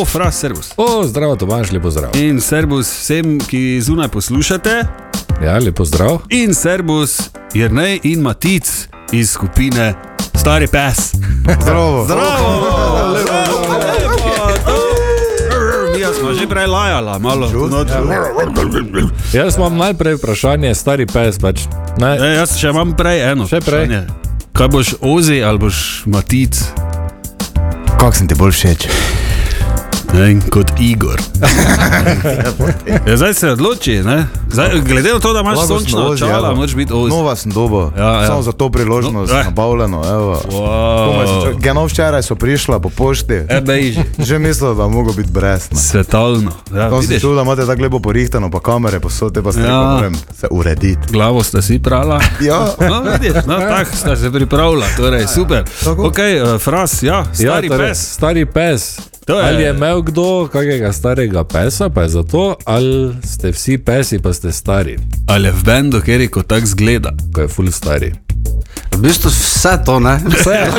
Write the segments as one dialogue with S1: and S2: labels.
S1: O, fras, servus.
S2: O, zdravo, Tomaž, lepo zdrav.
S1: In servus vsem, ki zunaj poslušate,
S2: Ja, lepo zdrav.
S1: in servus Jrnej in Matic iz skupine Stari pes.
S3: Zdravo.
S1: Mi smo že prej lajali, malo.
S2: Jaz imam najprej vprašanje, stari pes pač. Ne,
S1: E, jaz še imam prej eno.
S2: Še prej?
S1: vprašanje. Kaj boš ozi ali boš Matic?
S3: Kako sem ti bolj všeč?
S1: Ne, in kot Igor. ja, zdaj se odloči, ne? zdaj, glede na to, da imaš
S3: Lahko sem
S1: sončno
S3: Ozi, ja. No,
S1: očala,
S3: evo.
S1: moraš biti ozi.
S3: Nova sem dobo,
S1: Ja, ja.
S3: samo za to priložnost,
S1: No, eh.
S3: nabavljeno. evo. Komaj sem
S1: Wow. Eh.
S3: čak- Geno včeraj so prišla po pošti,
S1: Ebej že.
S3: že mislil, da mogo biti brez. ne.
S1: Svetovno. Ja,
S3: Tam sem
S1: vidiš?
S3: čul, da imate tako lepo porihtano, pa kamere posode, pa se
S1: Ja.
S3: ja. moram se urediti.
S1: Glavo ste si prala.
S3: Ja,
S1: No, vidiš, no, tako ste se pripravljali, torej super.
S3: Tako.
S1: Ok, uh, fras, ja, stari ja,
S2: torej,
S1: pes.
S2: Stari pes.
S1: To je-
S2: Ali je imel kdo kakega starega pesa, pa je zato, ali ste vsi pesi, pa ste stari,
S1: Ali je v bendu, kjer je kot tak zgleda.
S2: ko je full stari.
S4: V bistvu vse to, ne? Vse.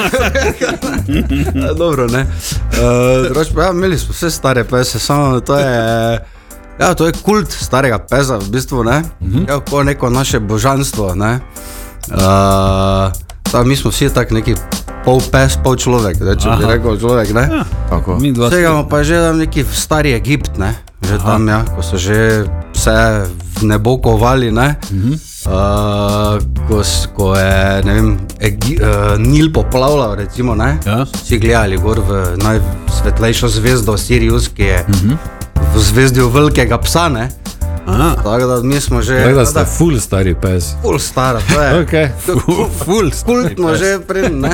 S4: Dobro, ne. Uh, drugače pa, ja, imeli smo vse stare pese, samo to je. Ja, to je kult starega pesa, v bistvu, ne? Ja, kot neko naše božanstvo, ne? Uh, ta, mi smo vsi tako neki pol pes, pol človek, da, če bi
S1: Aha.
S4: rekel človek, ne? Ja.
S3: tako.
S1: Mi dva
S4: Segamo pa že tam neki v stari Egipt, ne? že Aha. tam, ja, ko so že vse v nebo kovali. Ne?
S2: Mhm.
S4: Uh -huh. uh, ko, s- ko je ne vem, Egi, uh, Nil poplavljal, recimo, ne?
S1: Ja.
S4: si gledali gor v najsvetlejšo zvezdo, Sirius, ki je uh
S2: Mhm.
S4: -huh. v zvezdju velikega psa. Ne?
S1: Aha.
S4: Tako da mi smo
S1: Ja,
S4: že.
S2: Tako da ste
S4: tada
S2: full stari pes.
S4: Ful stara, to je.
S2: Okay.
S1: Ful, ful,
S4: Kultno že prej, ne?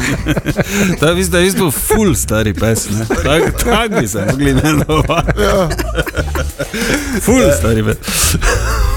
S1: Ta vi ste isto ful stari pes, ne? Tako tak bi se mogli imenovati. Ful stari pes.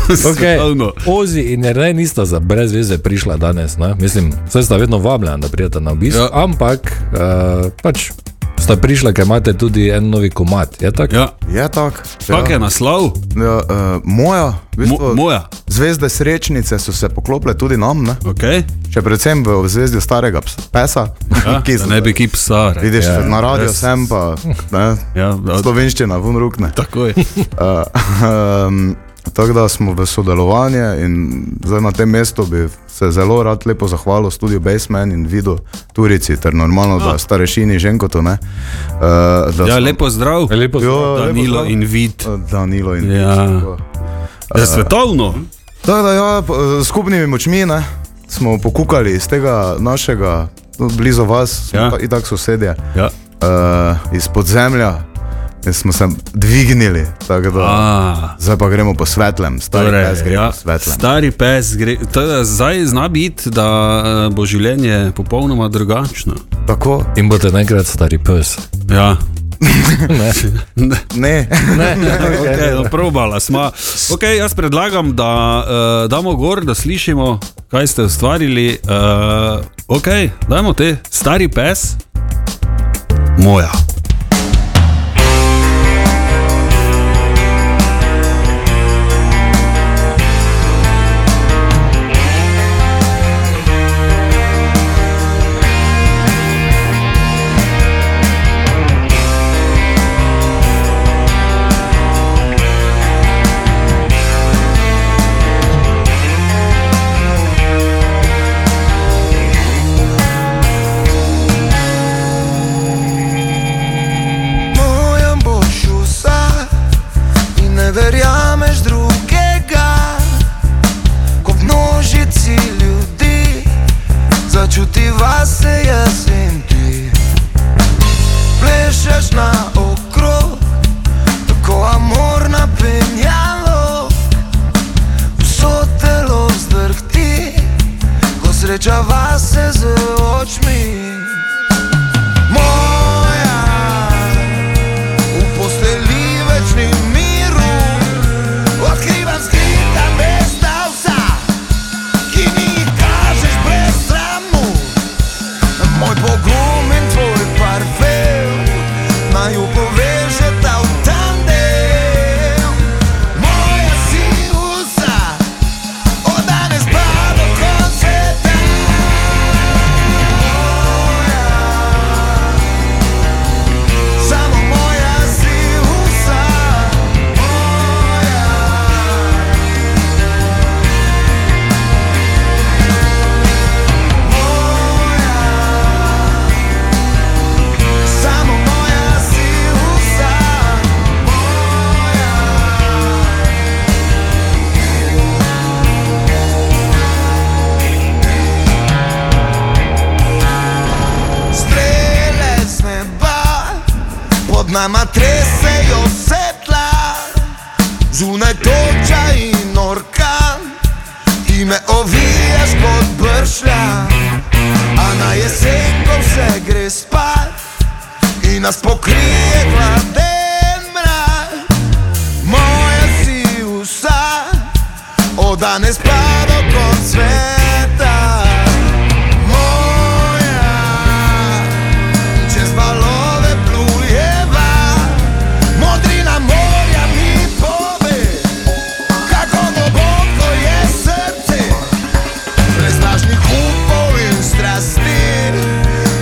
S2: Okay.
S1: Svetovno.
S2: Ozi in Rene nista za brez veze prišla danes. Ne? Mislim, vse sta vedno vabljena, da pridete na obisk,
S1: Ja.
S2: ja. ampak uh, pač sta prišla, ker imate tudi en novi komat. Je tako?
S1: Ja,
S3: Je tako.
S1: kak je naslov?
S3: Ja, eh, moja, v Ja. bistvu,
S1: Mo, moja.
S3: zvezde srečnice so se poklopile tudi nam, ne?
S1: Okay.
S3: še predvsem v zvezdju starega ps- pesa,
S1: Ja,
S3: ki
S1: da
S3: so
S1: ne bi kip sar.
S3: Vidiš,
S2: Ja.
S3: ja, na radiju
S1: Res.
S3: sem pa, ne,
S1: Ja, da-
S3: slovenščina, vun rukne.
S1: Tako je.
S3: Uh, um, tako da smo v sodelovanju in zdaj na tem mestu bi se zelo rad lepo zahvalil studiu Basement in Vidu Turici, ter normalno, da starešini Ženkotu, ne. Uh, da
S1: Ah. Ja,
S3: smo-
S1: lepo zdrav.
S2: Lepo se
S3: Jo, lepo
S1: Danilo
S3: zdrav.
S1: in vid.
S3: Danilo in
S1: Ja.
S3: tako.
S1: Ja, svetovno.
S3: Tako da ja, po- s skupnimi močmi ne, smo pokukali iz tega našega, no, blizu vas,
S1: Ja.
S3: ja. in tako sosedje.
S1: Ja.
S3: uh, iz podzemlja in smo se dvignili. tako Da,
S1: A.
S3: zdaj pa gremo po svetlem, stari torej, pes gre ja, po svetlem.
S1: stari pes gre. Teda, zdaj zna biti, da eh, bo življenje popolnoma drugačno.
S3: Tako?
S2: In boste enkrat stari pes.
S1: Ja.
S3: Ne.
S2: Ne,
S1: Okay, no, probala smo. Okay, jaz predlagam, da uh, damo gor, da slišimo, kaj ste ustvarili. Uh, ok, dajmo te, stari pes, moja.
S5: mojem bošu vsak in ne verjameš drugega. Ko v množici ljudi začutiva se jaz in ti. Plešeš na okrog, tako amor napenjalo, vso telo zdrhti, ko srečava se z očmi. Moja, v postelji več ni miru, odkrivam skrita mesta vsa, ki mi jih kažeš brez sramu. Moj pogum in tvoj parfem, naj ju povežeta v tandem. Moja si vsa, od danes pa do konca sveta. nama tresejo svetla, zunaj toča in orkan, ti me ovijaš kot bršlja, a na jesen, ko vse gre spat in nas pokrije hladen mrak, moja si vsa, od danes pa do konca sveta. Moja, čez valove plujeva, modrina morja mi pove, kako globoko je srce, brez lažnih upov in strasti,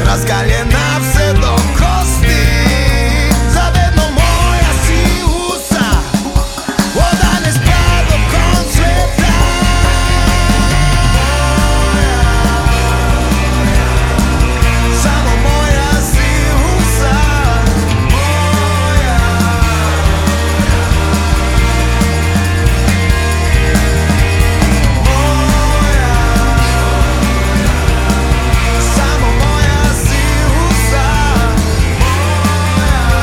S5: razgaljena vse do kosti. Za vedno moja si usa, od danes pa do konca sveta. Samo moja si usa, moja. Moja. Samo moja si usa, moja.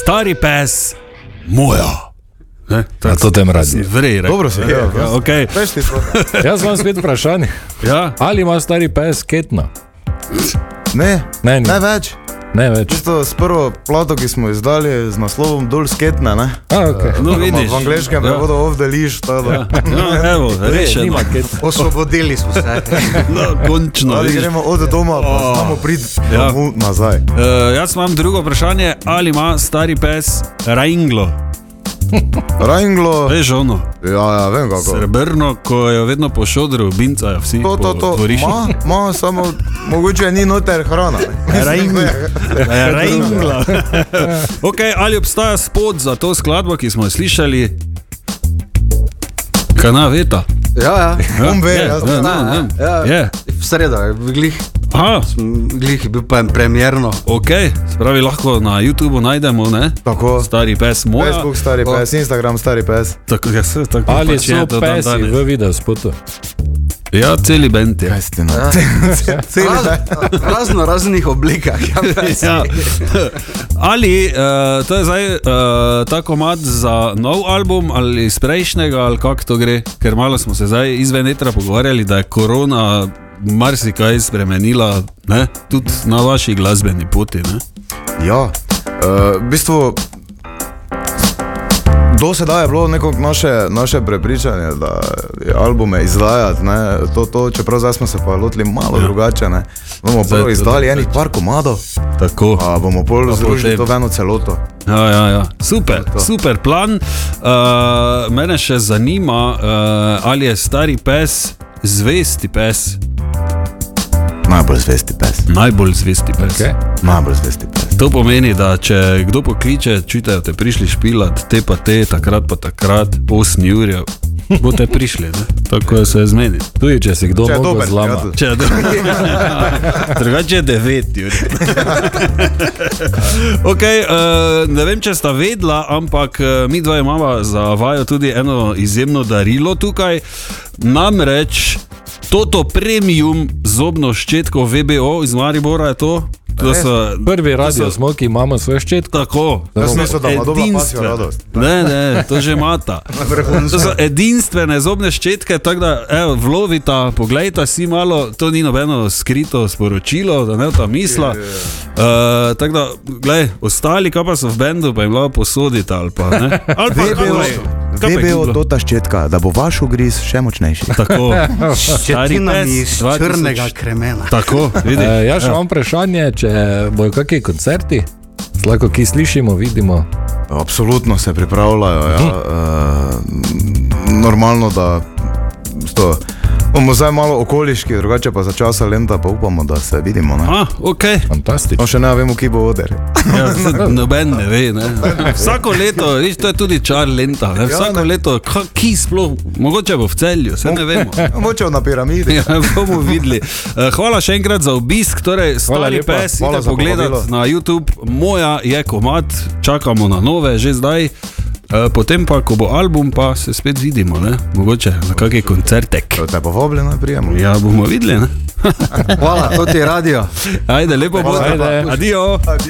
S1: Stari pes, moja. Ne, to
S2: Na
S1: je
S2: to tem radi.
S1: Vrej, rekel.
S3: Dobro se je.
S1: Ja, okay.
S3: Veš ti to?
S2: Jaz imam spet vprašanje.
S1: ja.
S2: Ali ima stari pes ketna?
S3: Ne,
S2: Ne, ne,
S3: ne več.
S2: ne več.
S3: Tisto s prvo plato, ki smo jo izdali z naslovom Dol sketna, ne?
S2: A, okay.
S1: No, vidiš.
S3: V angliškem
S1: ja.
S3: prevodu off the leash, tako da.
S1: Ja, evo, rešeno.
S4: Osvobodili smo se.
S1: No, končno.
S3: Ali
S1: vidiš.
S3: gremo od doma, pa samo prid
S1: Ja.
S3: domov nazaj.
S1: Uh, jaz imam drugo vprašanje, ali ima stari pes Rajnglo?
S3: Rajnglo,
S1: Veš, ono,
S3: ja, ja, vem kako.
S1: srebrno, ko je vedno po šodru, bincajo vsi.
S3: To, to, to, ma, ma, samo mogoče ni noter hrana. ne.
S1: Rajngla. okay, Eh, ali obstaja spod za to skladbo, ki smo jo slišali? Kana veta.
S4: Ja, ja.
S3: On ve, jaz
S1: ne,
S3: ne
S1: no,
S4: znam,
S1: ne.
S4: ja.
S1: Je.
S4: V sredo je bil glih,
S1: Aha,
S4: glih je bil pa en premjerno.
S1: ok, spravi lahko na YouTubu najdemo, ne?
S3: Tako.
S1: Stari pes moj.
S3: Facebook stari
S1: Ja.
S3: pes, Instagram stari pes.
S1: Tako, ja, se, tako
S2: Ali
S1: pač je
S2: so
S1: do dan
S2: pesi
S1: danes.
S2: v videospotu?
S1: Ja, celi bend je.
S3: Istina.
S4: Raz, razno raznih oblikah. Ja, pes.
S1: Ja. Ali uh, to je zdaj uh, ta komad za nov album ali iz prejšnjega, ali kako to gre? Ker malo smo se zdaj izven etra pogovarjali, da je korona marsikaj spremenila, ne? tudi na vaši glasbeni poti. Ne?
S3: Ja, eh, v bistvu. Do sedaj je bilo neko naše, naše prepričanje, da je albume izdajati, ne, to, to, čeprav zdaj smo se pa lotili malo ja. drugače. Ne.
S1: Zdaj
S3: Bomo
S1: je
S3: prvo
S1: to
S3: izdali
S1: drugače.
S3: enih par komadov,
S1: Tako.
S3: pa bomo pol združili to
S1: potem-
S3: v eno celoto.
S1: Ja, ja, ja. Super, super plan. Uh, mene še zanima, uh, ali je stari pes zvesti pes,
S3: Najbolj zvesti pes.
S1: najbolj zvesti pes.
S2: Okay.
S3: Najbolj zvesti pes.
S1: To pomeni, da če kdo pokliče, čutijo, te prišli špilat, te pa te, takrat pa takrat, 8 ur, boste prišli, ne? tako je se zmeni.
S2: Tudi če si kdo
S3: Če je
S2: mogel
S3: dober,
S2: zlama.
S3: prijatelj.
S1: Če je dobro. Drugače je 9 ur. okay, uh, ne vem, če sta vedla, ampak eh, mi dva imamo za vajo tudi eno izjemno darilo tukaj. Namreč Toto premium zobno ščetko VBO iz Maribora je to. To so
S2: Prvi radio smo, ki imamo svoj ščetko.
S1: Tako.
S3: Jaz mislim, da ima dobra pasja
S1: Edinstvene.
S3: radost.
S1: Ne, ne, to že mata. To so edinstvene zobne ščetke, tako da evo, vlovita, poglejta si malo, to ni nobeno skrito sporočilo, da ne ta misla. Uh, tako da, gled, ostali, kaj pa so v bendu, pa jim lahko posodita ali pa ne. Ali pa
S3: VBO,
S1: kaj pa je
S3: VBO
S1: kdo?
S3: to ta ščetka, da bo vaš ugriz še močnejši.
S1: Tako, stari
S4: Ščetinami
S1: pes,
S4: iz
S1: 2000.
S4: črnega kremena.
S1: Tako, vidiš.
S3: Ja.
S2: E, jaz še imam vprašanje, če bojo kakšni koncerti, lahko ki slišimo, vidimo.
S3: Absolutno se pripravljajo. Ja. Uh, normalno, da sto, bomo zdaj malo okoliški, drugače pa za časa lenta pa upamo, da se vidimo. Ne?
S1: Ah, ok.
S2: Fantastično.
S3: No, še ne vemo, ki bo oder.
S1: Ja, saj noben ne ve. Ne. Vsako leto, viš, to je tudi čar lenta.
S3: Ja,
S1: Ne. Vsako leto, ka- ki sploh, mogoče bo v celju, se ne vemo.
S3: Moče na piramidi.
S1: Ja, bomo videli. Eh, Hvala še enkrat za obisk, torej stari
S2: lepa.
S1: pes,
S3: Hvala
S1: idite
S3: za povabilo.
S1: pogledati na YouTube, moja je komat, čakamo na nove že zdaj. Eh, Potem pa, ko bo album, pa se spet vidimo, ne? mogoče na kakšen koncertek.
S3: Te povabljeno prijemo.
S1: Ja, bomo videli. ne.
S4: Hvala, to ti je radio.
S1: Ajde, lepo bo.
S3: Ja. Hvala lepa.
S1: Adijo.
S3: Adijo.